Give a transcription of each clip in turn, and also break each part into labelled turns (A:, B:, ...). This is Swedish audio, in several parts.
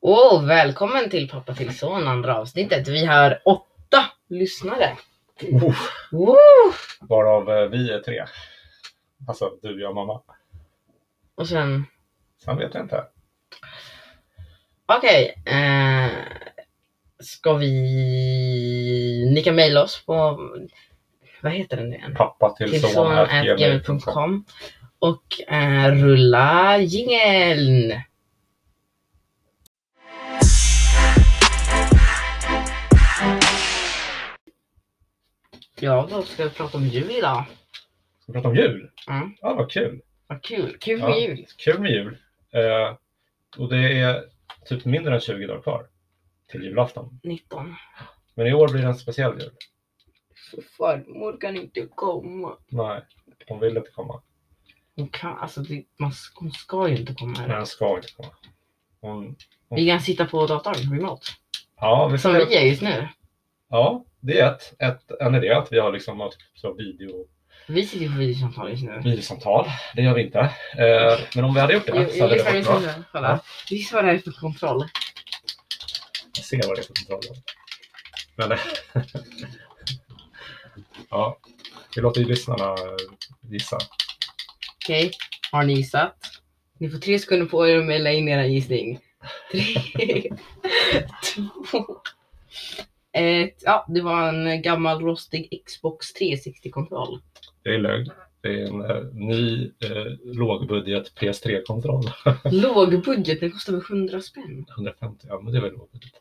A: Och välkommen till Pappa till son, andra avsnittet. Vi har åtta lyssnare.
B: Oh,
A: Woo!
B: varav eh, vi är tre. Alltså du, jag och mamma.
A: Och sen,
B: Sen vet jag inte.
A: okej. eh, ska vi... Ni kan mejla oss på... Vad heter den nu igen?
B: Pappa
A: Typ
B: till son är gmail.com.
A: Tillson.gmail.com och eh, rulla jingeln. Ja, då ska vi prata om jul idag.
B: Ska vi prata om jul?
A: Mm.
B: Ja, vad kul.
A: Vad kul! Kul med
B: Ja.
A: jul!
B: Kul med jul. Eh, och det är typ mindre än 20 dagar kvar till julafton.
A: 19.
B: Men i år blir det en speciell jul.
A: För farmor kan inte komma.
B: Nej, hon vill inte komma.
A: Hon kan, alltså det, man, hon ska ju inte komma
B: Men
A: här.
B: hon ska inte komma. Hon,
A: Vi kan sitta på datorn remote.
B: ja, vi
A: Som
B: ser.
A: vi är just nu.
B: Ja, det är ett, ett, en idé att vi har liksom något så video,
A: Vi sitter ju på videosamtal just nu.
B: videosamtal. Det gör vi inte. Eh, men om vi hade gjort
A: Jo,
B: det så
A: Jag
B: hade det
A: lyssnar
B: varit bra.
A: nu. Kolla. Vi svarar här för kontroll.
B: se vad det är för kontroll. Men, eh, ja, vi låter ju lyssnarna gissa.
A: Okej, har ni gissat? Ni får tre sekunder på er att mejla in er gissning. Tre, två, ett. Ja, det var en gammal rostig Xbox 360-kontroll.
B: Det är lögn. Det är en eh, ny eh, lågbudget PS3-kontroll.
A: Lågbudget, den kostade väl 100 spänn?
B: 150, ja men det är väl lågbudget.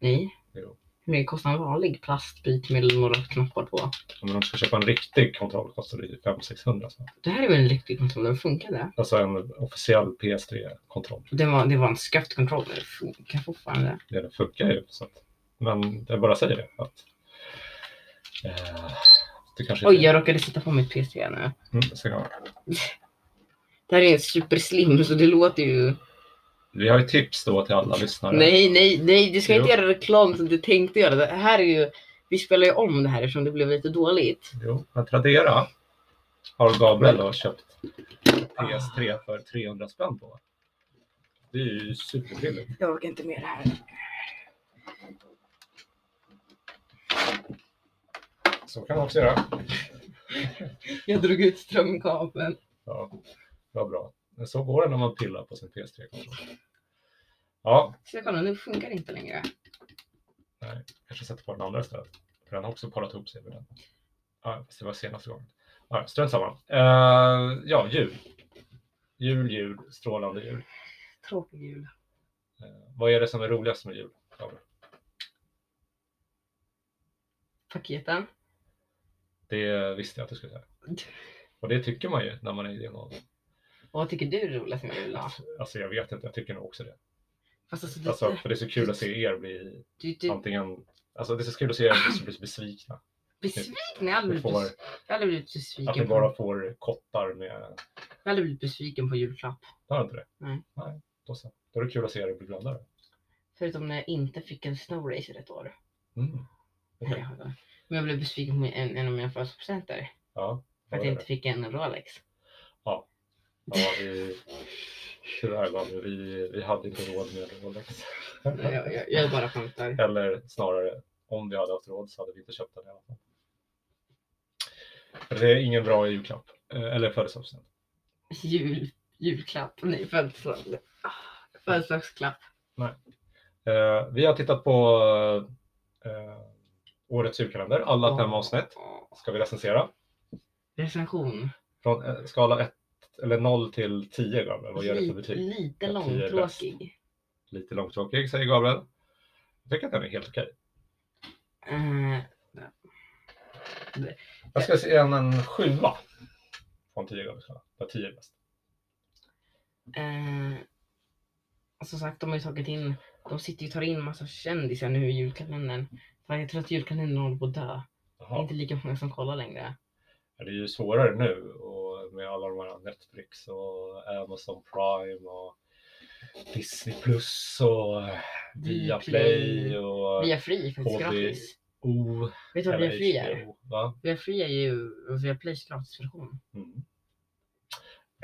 A: Nej.
B: Jo.
A: Hur mycket kostar en vanlig plastbit med några knappar på?
B: Om man ska köpa en riktig kontroll kostar det ju 500-600. så.
A: Det här är väl en riktig kontroll, den funkade.
B: Alltså en officiell PS3-kontroll.
A: Det var, det var en skaftkontroll, den funkar fortfarande.
B: Det funkar ju. Så att, men jag bara säger det. Att, eh, det kanske
A: Oj, jag råkade sätta på mitt PC nu.
B: Mm, så kan man-
A: Det här är en superslim så det låter ju...
B: Vi har ju tips då till alla lyssnare.
A: Nej, nej, nej, du ska
B: Jo.
A: inte göra reklam som du tänkte göra. Det här är ju, vi spelar ju om det här eftersom det blev lite dåligt.
B: Jo, men Tradera har Gabriel då köpt PS3 för 300 spänn på. Det är ju superbilligt.
A: Jag orkar inte med det här.
B: Så kan man också göra.
A: Jag drog ut strömkabeln.
B: Ja, vad bra. Men så går det när man pillar på sin PS3-kontroll. Ja,
A: Ska jag kolla, nu funkar det inte längre.
B: kanske sätter på den andra istället. För den har också parat ihop sig med den. Ja, fast det var senaste gången. Ja, strunt samma. Eh, ja, jul. Jul, jul, strålande jul.
A: Tråkig jul.
B: Eh, vad är det som är roligast med jul? Gabriel?
A: Paketen.
B: Det visste jag att du skulle säga. Och det tycker man ju när man är i din ålder.
A: Och vad tycker du är roligast med jul då?
B: Alltså jag vet inte, jag tycker nog också det.
A: Fast alltså,
B: Alltså,
A: du,
B: för det är så kul att se er bli
A: du, du
B: antingen, alltså det är så kul att se er bli besvikna.
A: besviken. Jag har
B: Vi
A: aldrig
B: får,
A: blivit bes- jag har aldrig blivit
B: att ni
A: besviken. På,
B: bara får kottar med,
A: jag har aldrig blivit besviken på julklapp.
B: har inte det?
A: Nej.
B: Nej, då så. Då är det kul att se er bli gladare.
A: Förutom när jag inte fick en snowracer ett år.
B: Mm.
A: Nej, det
B: Okej.
A: har jag inte. Men jag blev besviken på en, en av mina födelsedagspresenter.
B: Ja,
A: För att jag
B: då är
A: inte
B: det.
A: fick en Rolex.
B: ja, vi, tyvärr Gabriel, vi, vi hade inte råd med Rolex.
A: Nej, jag, jag, jag bara skämtar.
B: Eller snarare, om vi hade haft råd så hade vi inte köpt den i alla fall. För det är ingen bra julklapp, eh, eller födelsedagspresent.
A: Jul, julklapp. Nej, födelsedag. Ah, Födelsedagsklapp.
B: Eh, Vi har tittat på eh, årets julkalender, alla fem avsnitt ska vi recensera.
A: Recension.
B: Från eh, skala 1, eller 0 till 10 Gabriel, vad gör det för betyg?
A: Lite
B: Ja, tio är
A: långtråkig.
B: Lite långtråkig säger Gabriel. Jag tycker att den är helt okej.
A: Eh,
B: Jag ska se en, en sjua från 10 Gabriels skala, där 10 är bäst.
A: eh, som sagt, de har ju tagit in, de sitter ju och tar in massa kändisar nu i julkalendern. För jag tror att julkalendern håller på att dö. Det är
B: Jaha.
A: inte lika många som kollar längre.
B: Ja, Det är ju svårare nu och med alla de här Netflix och Amazon Prime och Disney Plus och Viaplay och
A: Mm. Via Free är faktiskt
B: HD.
A: gratis.
B: O.
A: Vet du vad
B: eller
A: Via Free är?
B: HBO, Va?
A: Via Free är ju Via Plays gratisversion.
B: Mm.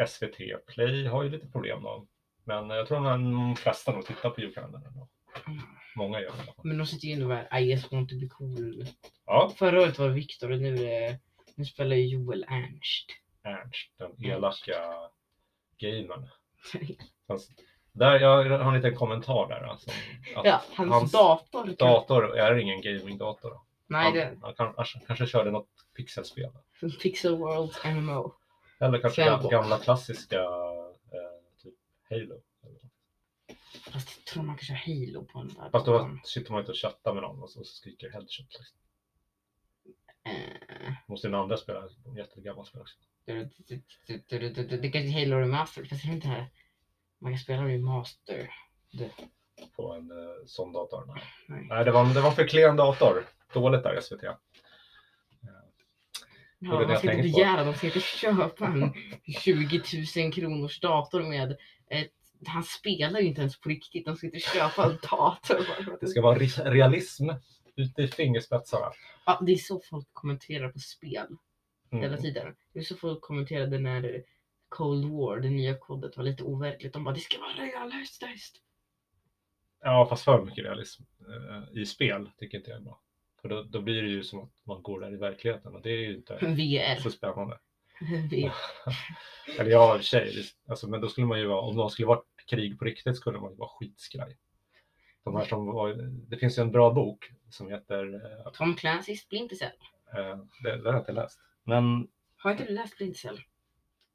B: SVT Play har ju lite problem då. Men eh, jag tror att de flesta nog tittar på julkalendern ändå.
A: Mm.
B: Många gör det i alla fall.
A: Men de sitter ju ändå med I just want to be cool.
B: Ja,
A: Förra året var det Viktor och nu, är- nu spelar ju Joel Ernst.
B: Ernst, den elaka gamern. Fast Där, jag har en liten kommentar där. Alltså, att
A: Ja, hans,
B: hans
A: dator. kan-
B: dator är ingen gamingdator.
A: Nej, det
B: Han, han kan, kanske- kanske körde något pixelspel.
A: Pixel World MMO.
B: Eller kanske
A: Fjällboll.
B: gam- gamla klassiska eh, typ Halo.
A: Fast jag tror man kan köra Halo på den där
B: Fast då
A: datorn.
B: sitter man inte och chattar med någon och så skriker headshot. Liksom.
A: Eh,
B: Måste den andra spela, en jättegammal spel också.
A: du- du- du- du- du- du- du- Det kanske är Halo Remastered, fast jag tror inte här. Man kan spela Remaster.
B: på en eh, sån dator. Nej.
A: Nej.
B: Nej, det var, det var för klen dator. Dåligt där SVT. det
A: Ja,
B: jag
A: man ska inte
B: tänker på.
A: begära, de ska inte köpa en 20 000 kronors dator med ett... Han spelar ju inte ens på riktigt, de ska inte köpa en dator. bara för att-
B: Det ska vara ris- realism ute i fingerspetsarna.
A: Ja, det är så folk kommenterar på spel hela
B: Mm.
A: tiden. Det är så folk kommenterade när Cold War, det nya kodet, var lite overkligt. De bara det ska vara realistiskt.
B: Ja, fast för mycket realism eh, i spel tycker inte jag är bra. För då, då blir det ju som att man går där i verkligheten och det är ju inte
A: VR.
B: så spännande.
A: VR.
B: Eller ja, i och för sig. det- Alltså, men då skulle man ju vara, om de skulle varit krig på riktigt skulle man ju vara skitskraj. De här som var, det finns ju en bra bok som heter, eh,
A: Tom Clancy Splinter Cell.
B: eh, det, den har jag inte läst. Men
A: Har inte du läst Splinter Cell?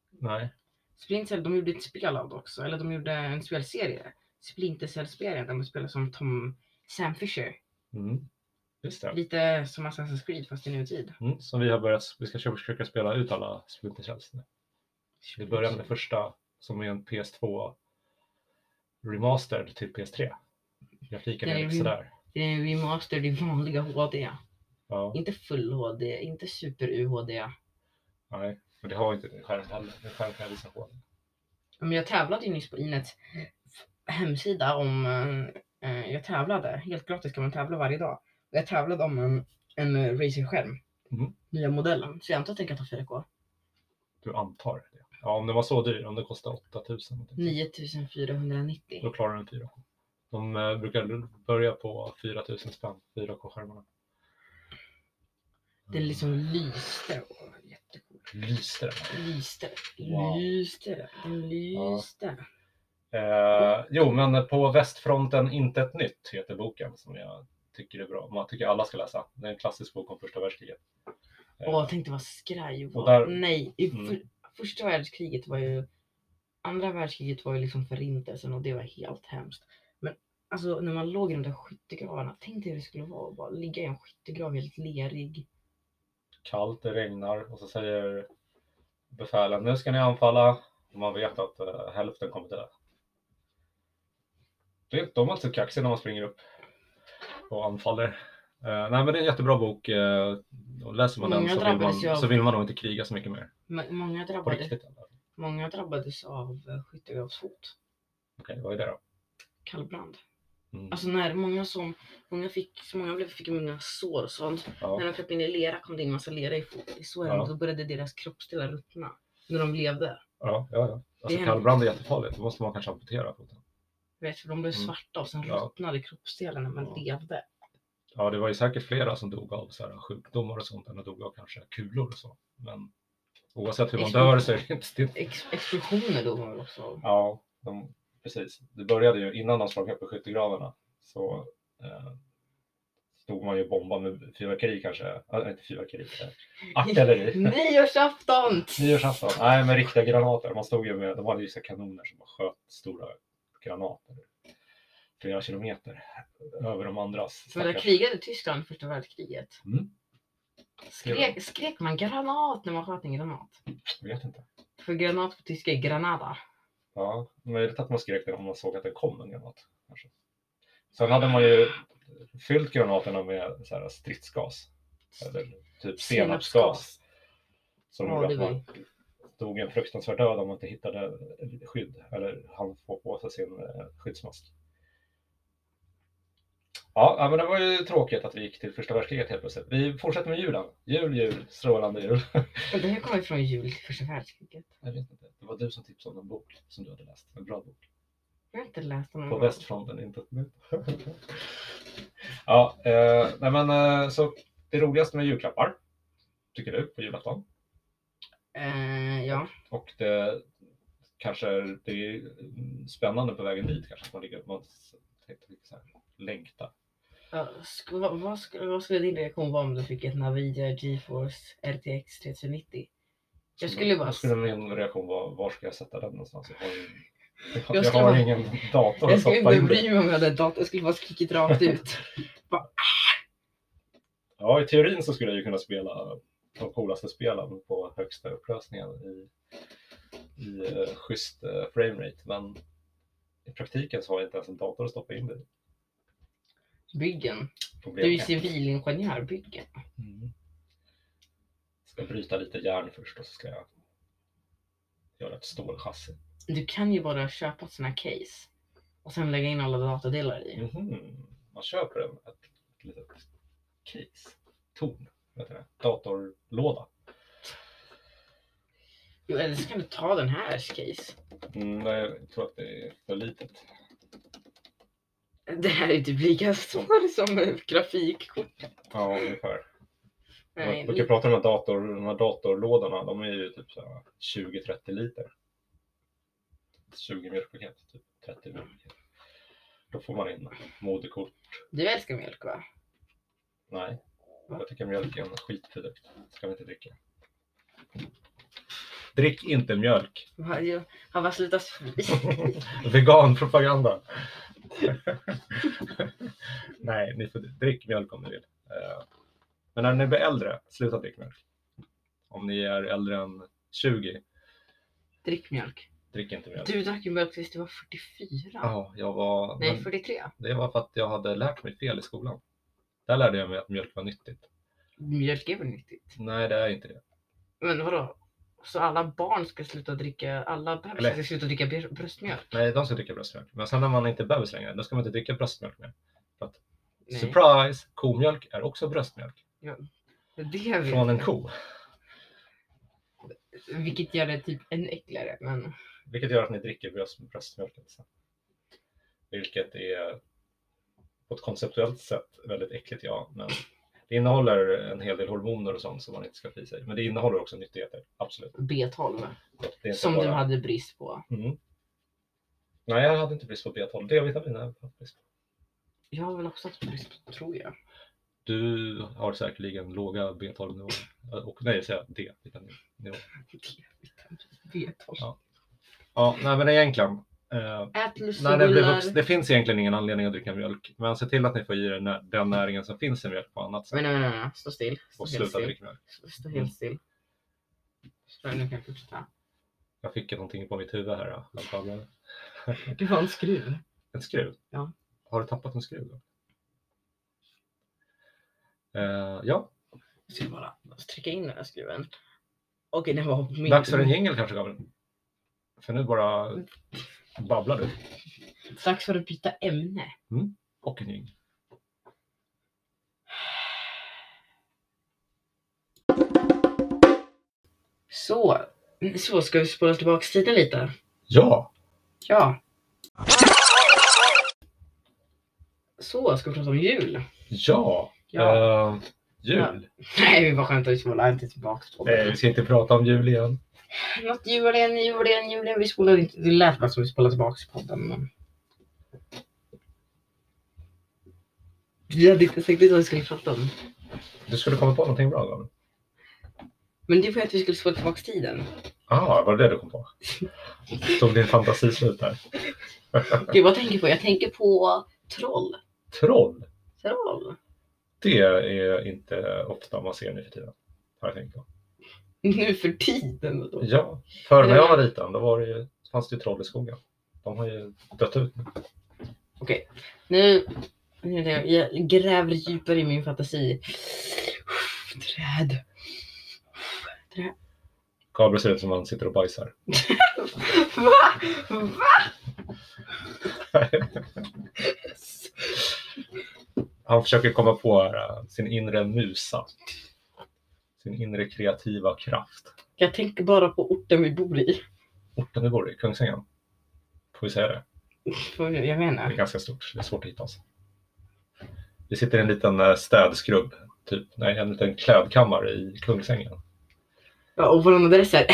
B: nej,
A: Splinter Cell, de gjorde ett spel av det också. Eller de gjorde en spelserie. Splinter Cell-serien där man spelar som Tom Sam Fisher.
B: Mm. Just det.
A: Lite som Assassin's Creed fast i nutid.
B: Mm. Som vi har börjat, vi ska försöka spela ut alla Splinter Cells nu. Vi börjar med det första som är en PS2 remastered till PS3. Grafiken
A: Det
B: är
A: är
B: lite
A: ju-
B: sådär.
A: Det är remastered i vanliga HD.
B: Ja,
A: Inte full HD, inte super UHD.
B: nej, men det har inte det skärmen heller. Det skärmen kan jag visa på.
A: Men jag tävlade ju nyss på Inets hemsida om... Eh, jag tävlade, helt gratis kan man tävla varje dag. Och jag tävlade om en, en eh, racingskärm.
B: Mhm.
A: Nya modellen. Så jag antar att den kan ta 4K.
B: Du antar det. Ja, om den var så dyr, om det kostade 8000. någonting,
A: 9490.
B: Då klarar den 4K. De eh, brukar börja på 4000 spänn, 4K-skärmarna. Mm.
A: Den liksom lyste. Åh, jättekul.
B: lyste. den.
A: Lyste.
B: Wow.
A: Lyste. den. Den lyste.
B: Eh, jo, men på västfronten inte ett nytt heter boken som jag tycker är bra. Man tycker alla ska läsa. Det är en klassisk bok om första världskriget. Eh,
A: Åh, tänk dig vad skraj jag
B: och
A: var.
B: där-
A: Nej, i
B: Mm.
A: för, första världskriget var ju... Andra världskriget var ju liksom förintelsen och det var helt hemskt. Men alltså när man låg i de där skyttegravarna, tänk dig hur det skulle vara att bara ligga i en skyttegrav helt lerig.
B: Kallt, det regnar och så säger befälen nu ska ni anfalla. Och man vet att eh, hälften kommer dö. Det är, de är inte så kaxiga när man springer upp och anfaller. Eh, nej, men det är en jättebra bok. Eh, och läser man den
A: Många
B: så vill
A: drabbades ju av-
B: man, så vill man nog inte kriga så mycket mer.
A: Men många,
B: På
A: drabbade,
B: riktigt. eller? Okej,
A: många drabbades av eh, skyttegravshot,
B: vad är det då?
A: kallbrand.
B: Mm.
A: Alltså när många som, många fick, så många blev, fick många sår och sånt.
B: ja.
A: När de kröp in i lera kom det in massa lera i, fo- i såren
B: Ja.
A: och då började deras kroppsdelar ruttna. När de levde.
B: Ja, ja, ja. Alltså
A: Det-
B: kallbrand är jättefarligt. Då måste man kanske amputera foten.
A: Vet, för de blev
B: Mm.
A: svarta och sen
B: Ja.
A: ruttnade kroppsdelarna men
B: Ja.
A: levde.
B: Ja, det var ju säkert flera som dog av så här, sjukdomar och sånt. Eller dog av kanske kulor och så. Men oavsett hur man
A: Explosion.
B: dör så är det inte stilt.
A: Ex- explosioner dog man väl också av?
B: Ja, de, precis. Det började ju innan de sprang upp i skyttegravarna. Så eh, stod man ju och bombade med fyrverkeri kanske. Äh, inte fyrverkeri. eh, Artilleri.
A: Nyårsafton!
B: Nyårsafton. Nej, men riktiga granater. Man stod ju med, de hade ju så här kanoner som bara sköt stora granater flera kilometer över de andras.
A: Men där
B: stackars-
A: krigade Tyskland i första världskriget.
B: Mm.
A: Skrek, skrek man granat när man sköt en granat?
B: Jag vet inte.
A: För granat på tyska är granada.
B: Ja, möjligt att man skrek det om man såg att det kom en granat. Kanske. Sen hade man ju fyllt granaterna med så här stridsgas. Eller typ senapsgas. Som
A: Ja,
B: gjorde
A: det
B: att
A: var
B: man dog en fruktansvärd död om man inte hittade skydd. Eller han får på sig sin eh, skyddsmask. Ja, ja, men det var ju tråkigt att vi gick till första världskriget helt plötsligt. Vi fortsätter med julen. Jul, jul, strålande jul.
A: Men Det här kommer från jul till första världskriget.
B: Jag vet inte. Det var du som tipsade om en bok som du hade läst. En bra bok.
A: Jag har inte läst den.
B: På västfronten, inte ett nytt. ja, eh, nej men eh, så det roligaste med julklappar, tycker du, på julafton?
A: Eh, ja.
B: Och det kanske är- det är spännande på vägen dit kanske, att man ligger man tänkte lite så här, längta.
A: ja sk- vad, vad, skulle, vad skulle din reaktion vara om du fick ett Nvidia GeForce RTX 3090? Jag skulle bara...
B: Vad skulle min reaktion vara, var ska jag sätta den någonstans? Jag har, ju- jag,
A: skulle
B: har
A: bara-
B: ingen dator
A: Jag
B: att
A: skulle
B: stoppa
A: inte
B: in
A: bry
B: det.
A: mig om jag hade en dator. Jag skulle bara skrikit rakt ut.
B: Ja, i teorin så skulle jag ju kunna spela de coolaste spelen på högsta upplösningen i, i eh, schysst eh, framerate, men i praktiken så har jag inte ens en dator att stoppa in det i.
A: Byggen. Du
B: Problem
A: är ju
B: kan-
A: civilingenjör. Byggen.
B: Mm. Ska bryta lite järn först och så ska jag göra ett stålchassi.
A: Du kan ju bara köpa såna här case. Och sen lägga in alla datadelar i.
B: Mhm. Man köper en, ett, ett litet case, torn, vet du det? datorlåda.
A: Jo, eller så kan du ta den här case.
B: Mm, nej, jag tror att det är för litet.
A: Det här är typ lika svårt som eh, grafikkort.
B: Ja, ungefär.
A: Nej,
B: Man brukar prata om de här, dator, de här datorlådorna, de är ju typ så här 20-30 liter. 20 mjölkpaket, typ 30 mjölkpaket. Då får man in moderkort.
A: du älskar mjölk va?
B: Nej,
A: Va?
B: jag tycker mjölk är en skitprodukt. Ska vi inte dricka. Drick inte mjölk.
A: Va- jag- Har bara slutat fri.
B: Veganpropaganda. Nej, ni får drick mjölk om ni vill. Eh, Men när ni blir äldre, sluta dricka mjölk. Om ni är äldre än 20,
A: Drick mjölk.
B: drick inte mjölk.
A: Du drack ju mjölk tills du var 44.
B: Ja, jag var...
A: Nej,
B: men
A: 43.
B: Det var för att jag hade lärt mig fel i skolan. Där lärde jag mig att mjölk var nyttigt.
A: Mjölk är väl nyttigt?
B: Nej, det är inte det.
A: Men vadå? Så alla barn ska sluta dricka, alla bebisar
B: Eller-
A: ska sluta dricka br- bröstmjölk?
B: Nej, de ska dricka bröstmjölk. Men sen när man inte är bebis längre, då ska man inte dricka bröstmjölk mer.
A: Nej.
B: Surprise! Komjölk är också bröstmjölk.
A: Det vet
B: Från en
A: jag.
B: ko.
A: Vilket gör det typ ännu äckligare. Men
B: Vilket gör att ni dricker bröst, bröstmjölken sen. Vilket är på ett konceptuellt sätt väldigt äckligt, ja. Men det innehåller en hel del hormoner och sånt som man inte ska få i sig. Men det innehåller också nyttigheter, absolut.
A: B12.
B: Det är inte
A: Som du
B: bara-
A: hade brist på.
B: Mm. Nej, jag hade inte brist på B12. D-vitamin är jag brist på.
A: Jag har väl också haft brist på, tror jag.
B: Du har säkerligen låga B12-nivåer. Och nej, säger jag D-vitamin.
A: B12.
B: Ja, nej men egentligen. Eh,
A: Ät
B: när det, blir
A: lussebullar.
B: vux, det finns egentligen ingen anledning att dricka mjölk. Men se till att ni får i er nä- den näringen som finns i mjölk på annat sätt.
A: Men nej, nej, nej, stå still. Stå
B: Och
A: helt
B: sluta
A: still.
B: dricka mjölk.
A: Stå helt still. Så, nu kan jag fortsätta.
B: Jag fick ju någonting på mitt huvud här. ja, antagligen.
A: Du har en skruv.
B: En skruv?
A: Ja.
B: Har du tappat en skruv? Då? Eh, ja,
A: Jag ska bara trycka in den här skruven. Okej, det var min...
B: dags för en jingel kanske Gabriel. För nu bara babblar du.
A: Dags för att byta ämne.
B: Och en jingel.
A: Så. Så, ska vi spola tillbaka tiden lite?
B: Ja!
A: Ja. Så, ska vi prata om jul?
B: Ja!
A: Ja.
B: Eh, jul.
A: Nej, vi bara skämtar. Vi spolar inte tillbaka.
B: Nej, vi ska inte prata om jul igen.
A: Något julen, julen, julen. Vi spolar inte. Det lät bara som vi spolade tillbaka podden. Men... Vi hade inte sagt det vad vi skulle prata om.
B: Du skulle komma på någonting bra Gabriel.
A: Men det var ju att vi skulle spola tillbaka tiden.
B: Ah, var det det du kom på? Tog din fantasi slut där?
A: Gud, vad tänker jag på? Jag tänker på troll.
B: Troll,
A: Troll.
B: det är inte ofta man ser nu för tiden. Har jag tänkt på.
A: Nu för tiden. Då.
B: Ja, för när jag var liten då var det ju, fanns det ju troll i skogen. De har ju dött ut.
A: Nu, nu- jag gräver djupare i min fantasi. Träd.
B: Gabriel ser ut som han sitter och bajsar.
A: Va? Va?
B: Han försöker komma på eh, sin inre musa. Sin inre kreativa kraft.
A: Jag tänker bara på orten vi bor i.
B: Orten du bor i, Kungsängen. Får vi säga det?
A: Jag
B: Det är
A: menar.
B: ganska stort, det är svårt att hitta oss. Vi sitter i en liten eh, städskrubb, typ. Nej, en liten klädkammare i Kungsängen.
A: Ja, och vår adress är...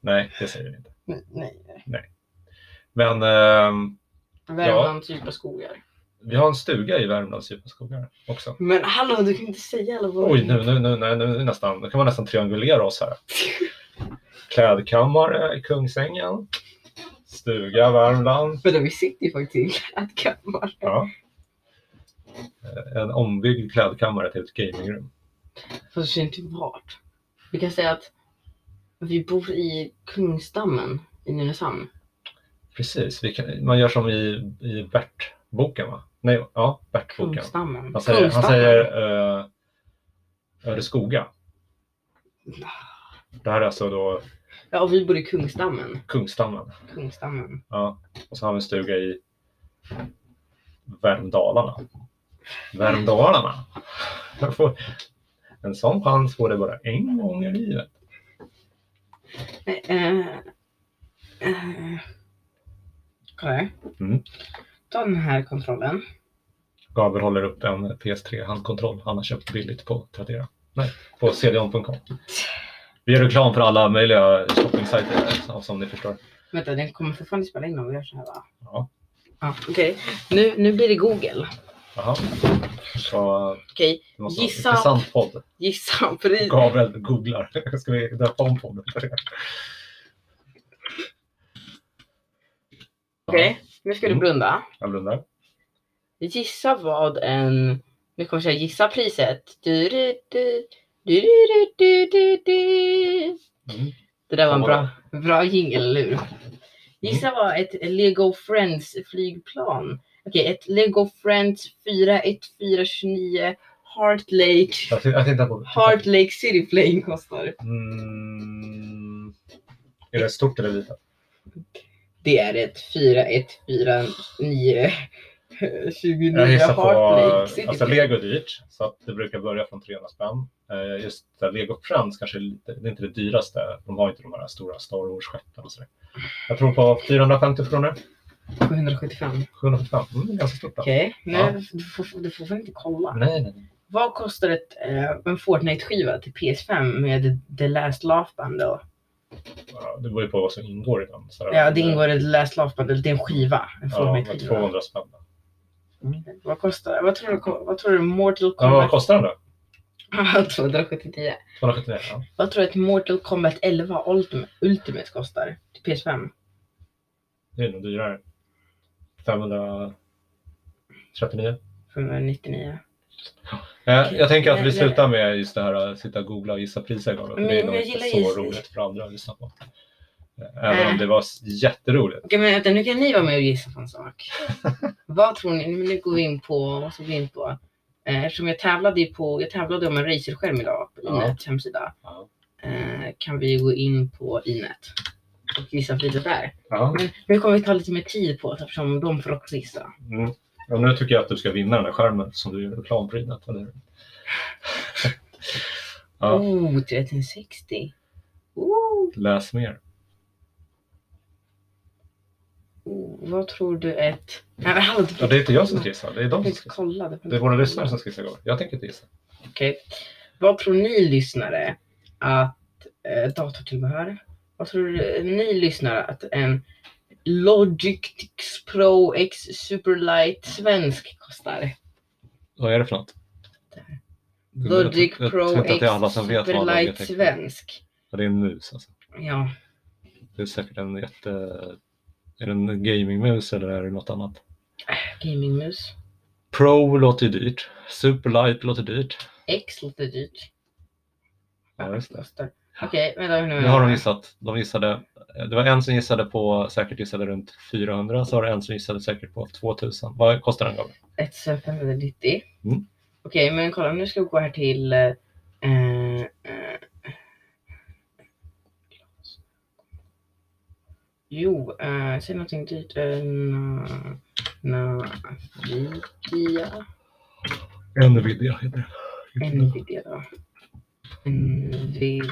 B: Nej, det säger vi inte.
A: Nej.
B: Men ehm,
A: Värmlands djupa skogar.
B: vi har en stuga i Värmlands djupa skogar också.
A: Men hallå, du kan ju inte säga alla våra...
B: Oj, nu, nu, nu, nu, nu, nästan, nu kan man nästan triangulera oss här. Klädkammare i Kungsängen. Stuga Värmland.
A: Men vi sitter ju faktiskt i en klädkammare.
B: Ja. Eh, En ombyggd klädkammare till ett gamingrum.
A: Fast vi vet inte vart. Vi kan säga att vi bor i Kungsdammen i Nynäshamn.
B: Precis, vi kan, man gör som i, i Bert-boken va? Nej, ja, Bert-boken.
A: Kungsdammen.
B: Han säger, han
A: Kungsdammen.
B: säger uh, Öreskoga. Det här är alltså då
A: Ja, och vi bor i Kungsdammen.
B: Kungsdammen.
A: Kungsdammen.
B: Ja. Och så har vi en stuga i Värmdalarna. Värmdalarna. Jag får- En sån chans får det bara en gång i livet.
A: Nej, eh, eh. Kolla här.
B: Mm.
A: Ta den här kontrollen.
B: Gabriel håller upp en PS3-handkontroll han har köpt billigt på Tradera. Nej, på cdon.com. Vi gör reklam för alla möjliga shoppingsajter eh, som ni förstår.
A: Vänta, den kommer fortfarande spela in om vi gör så här va?
B: Ja.
A: Ja, okej. Nu, nu blir det Google.
B: Jaha. Så,
A: Okej,
B: det måste vara en
A: Gissa.
B: intressant podd.
A: gissa. För det...
B: Gabriel googlar. Ska vi döpa om podden?
A: Okej, nu ska du
B: Mm.
A: blunda.
B: Ja, Jag blundar.
A: Gissa vad en... Nu kommer jag säga gissa priset. Du, du, du, du, du, du, du, du.
B: Mm.
A: Det där var en
B: Fan,
A: bra, bra jingel, eller hur? Gissa vad ett Lego Friends flygplan. Okej, ett Lego Friends 41429 Heart Lake,
B: Jag, t- jag tittar på...
A: Heart Lake City Plane kostar.
B: Mm. Är det stort eller litet?
A: Det är ett 4149 29
B: Jag gissar på...
A: Heart Lake City
B: Alltså
A: Plane.
B: lego är dyrt. Så att det brukar börja från 300 spänn. Eh, Just där lego Friends kanske är lite, det är inte det dyraste. De har inte de här stora Star Wars-skeppen och sådär. Jag tror på 450 kronor.
A: 775.
B: 775. Mm, det är ganska stort. då.
A: Okej, nu
B: Ja.
A: du, får, du får väl inte kolla.
B: Nej, nej, nej.
A: Vad kostar ett, eh, en Fortnite-skiva till PS5 med The Last Laugh Band då?
B: Ja, Det beror ju på vad som ingår i den. sådär.
A: Ja, det ingår i The Last Laugh Band, eller det är en skiva. En
B: eh, Ja, med
A: Fortnite-skiva.
B: 200 spänn.
A: Vad kostar, vad tror du, ko- vad tror du Mortal
B: Ja, vad
A: Kombat...
B: kostar den då?
A: 279.
B: 279? Ja.
A: Vad tror du att Mortal Kombat 11 Ultimate, Ultimate kostar till PS5?
B: Det är nog dyrare. 539.
A: 599.
B: Eh, jag tänker att
A: Nej,
B: vi
A: nej.
B: slutar med just det här att sitta och googla och gissa priser. Gabriel, för
A: Men-
B: Det är
A: men
B: nog
A: jag
B: inte
A: gillar
B: så
A: gissning.
B: roligt för andra att lyssna på. Eh, Även om
A: Nej.
B: det var s- jätteroligt.
A: Okej, men vänta, nu kan ni vara med och gissa på en sak. vad tror ni? Nu nu går vi in på, vad ska vi gå in på? Eh, Eftersom jag tävlade, ju på, jag tävlade om en racerskärm idag på
B: Ja.
A: Inets hemsida.
B: Ja.
A: Eh, kan vi gå in på Inet och gissa priset där.
B: Ja.
A: Men nu kommer vi ta lite mer tid på oss eftersom de får också gissa.
B: Mm. Och nu tycker jag att du ska vinna den här skärmen som du gör reklam för innan, eller hur? Ja.
A: Oh, 1360. Oh,
B: Läs mer.
A: oh, vad tror du ett... Nej men hallå, du
B: Ja,
A: får
B: det är inte jag som ska gissa, det är
A: du får
B: de som
A: inte
B: ska gissa.
A: kolla. du får
B: Det
A: inte
B: är våra
A: kolla.
B: lyssnare som ska gissa. Gabriel. Jag tänker inte gissa.
A: Okej. Vad tror ni lyssnare att eh, datortillbehör? Vad tror du, ni lyssnare att en Logitech Pro X Superlight svensk kostar?
B: Vad är det för något? tror-
A: Logic
B: jag
A: Pro
B: tror inte att
A: X
B: det är alla som vet vad
A: Superlight
B: Logitech är.
A: svensk.
B: Ja, Det är en mus alltså.
A: Ja,
B: Det är säkert en jätte... Är det en gamingmus eller är det något annat?
A: Äh, gamingmus.
B: Pro låter ju dyrt. Superlight låter dyrt.
A: X låter dyrt.
B: Ja, just det.
A: Kostar. Okej, vänta nu.
B: Nu har de gissat. De gissade, det var en som gissade på, säkert gissade runt 400, så var det en som gissade säkert på 2000. Vad kostar den Gabriel?
A: 1590.
B: Mm.
A: Okej, men kolla nu ska vi gå här till... Eh, eh, jo, eh, säg någonting dyrt. Eh, na, na, Nvidia.
B: Nvidia heter det.
A: Nvidia då. Nvidia.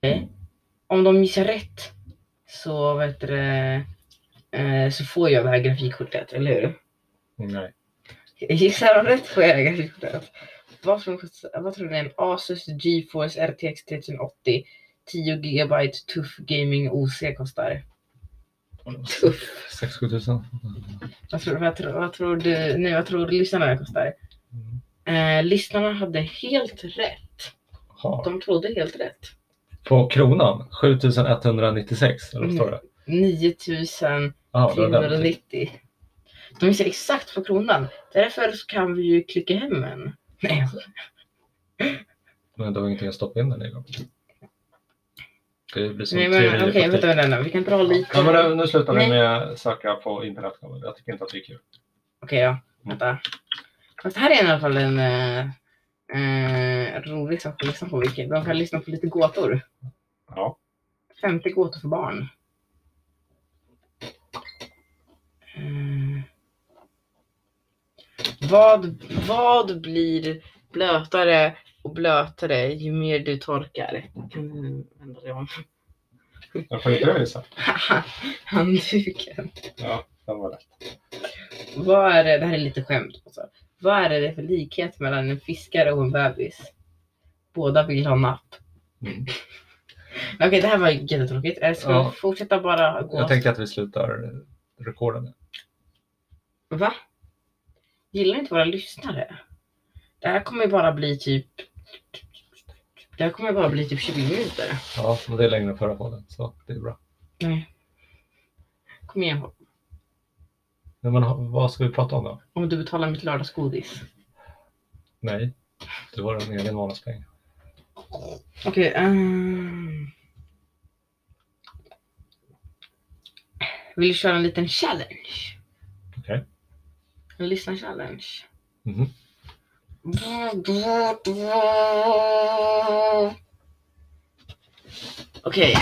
A: Eh, om de gissar rätt så, vad heter det, eh, så får jag det här grafikkortet, eller hur?
B: Mm, Nej.
A: Gissar de rätt får jag det här grafikkortet. Vad tror, vad tror ni en Asus GeForce RTX 3080 10 GB tuff gaming OC kostar? Tuff.
B: 6-7 tusen.
A: Vad tror, vad tror, vad tror du, nej vad tror lyssnarna det kostar?
B: Mm.
A: Eh, lyssnarna hade helt rätt.
B: Jaha.
A: De trodde helt rätt.
B: På kronan, 7196, eller vad står
A: Mm.
B: det?
A: 9000
B: Ja, det var den.
A: 390. De visar exakt på kronan. Därför så kan vi ju klicka hem en. Nej,
B: Men det var ingenting att stoppa in den i. då. Det blir som
A: Nej
B: teori
A: men
B: i
A: okej,
B: praktik.
A: vänta, vänta, vänta. Vi kan dra lite.
B: Ja, men nu, nu slutar vi
A: Nej.
B: med söka på internet. Kalle. Jag tycker inte att det är kul.
A: Okej, ja. Vänta. Fast här är i alla fall en eh, eh, rolig sak att lyssna på. Vilket, de kan lyssna på lite gåtor.
B: Ja.
A: 50 gåtor för barn. Eh, vad, vad blir blötare och blötare ju mer du torkar? Kan du vända dig om?
B: Jag får inte visa.
A: Handduken.
B: Ja, det var lätt.
A: Vad är det, det här är lite skämt också. Vad är det för likhet mellan en fiskare och en bebis? Båda vill ha napp.
B: Mm.
A: Okej, det här var ju jättetråkigt. Eh, Ska
B: Ja.
A: vi fortsätta bara gå?
B: Jag tänkte att vi slutar rekorden.
A: Va? Gillar inte våra lyssnare? Det här kommer ju bara bli typ... Det här kommer ju bara bli typ 20 minuter.
B: Ja, men det är längre än förra podden, så det är bra.
A: Nej. Kom igen,
B: Nej, men ha- vad ska vi prata om då?
A: om du betalar mitt lördagsgodis.
B: Nej, du har en egen månadspeng.
A: Okej. ehm. Vill du köra en liten challenge?
B: Okej.
A: En lyssna-challenge?
B: Mhm.
A: Okej.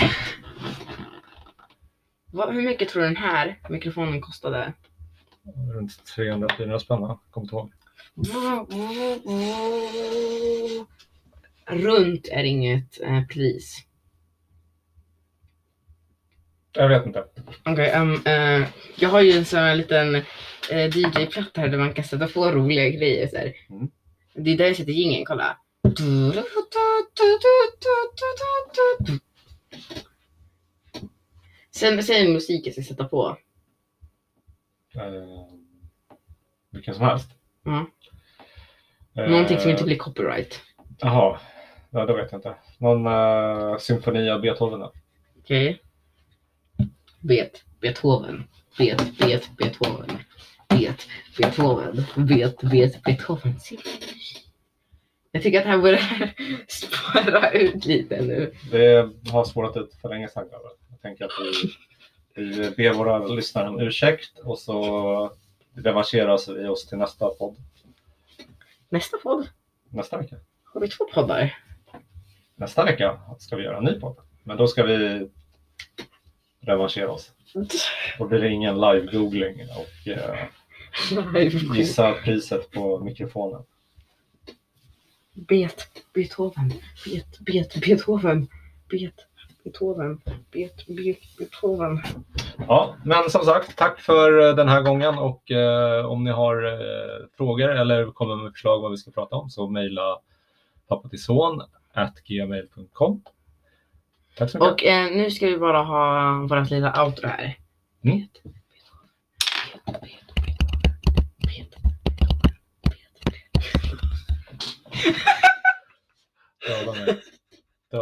A: Vad- Hur mycket tror du den här mikrofonen kostade?
B: Runt 300-400 spänn, va? kom inte ihåg.
A: Runt är inget eh, pris.
B: Jag vet inte.
A: Okej, ehm, eh, jag har ju en sån här liten eh, DJ-platta här där man kan sätta på roliga grejer. Så här.
B: Mm.
A: Det är där jag sätter jingeln, kolla. Sen, sen musik jag ska sätta på.
B: Eh, vilken som helst.
A: Ja.
B: Eh,
A: Mm. Någonting som inte blir copyright.
B: Jaha, ja, det vet jag inte. Någon eh, symfoni av Beethoven? då?
A: Okej? Bet, Beethoven. Bet, bet, Beethoven. Bet, Beethoven. Bet, bet, Beethoven. Jag tycker att det här börjar spara ut lite nu.
B: Det har spårat ut för länge sedan. grabbar. Jag tänker att vi, vi ber våra lyssnare om ursäkt och så revanscherar vi oss till nästa podd.
A: Nästa podd.
B: Nästa vecka.
A: Har vi två poddar?
B: Nästa vecka ska vi göra en ny podd. Men då ska vi revanschera oss. Då blir det ingen live-googling och eh, gissa priset på mikrofonen.
A: Bet, Beethoven. Bet, bet, Beethoven. Bet, Beethoven. Bet, bet, Beethoven.
B: Ja, men som sagt, tack för eh, den här gången och eh, om ni har eh, frågor eller kommer med förslag vad vi ska prata om så mejla pappatillson@gmail.com. Tack så mycket.
A: Och eh, nu ska vi bara ha vårt lilla outro här.
B: Mm.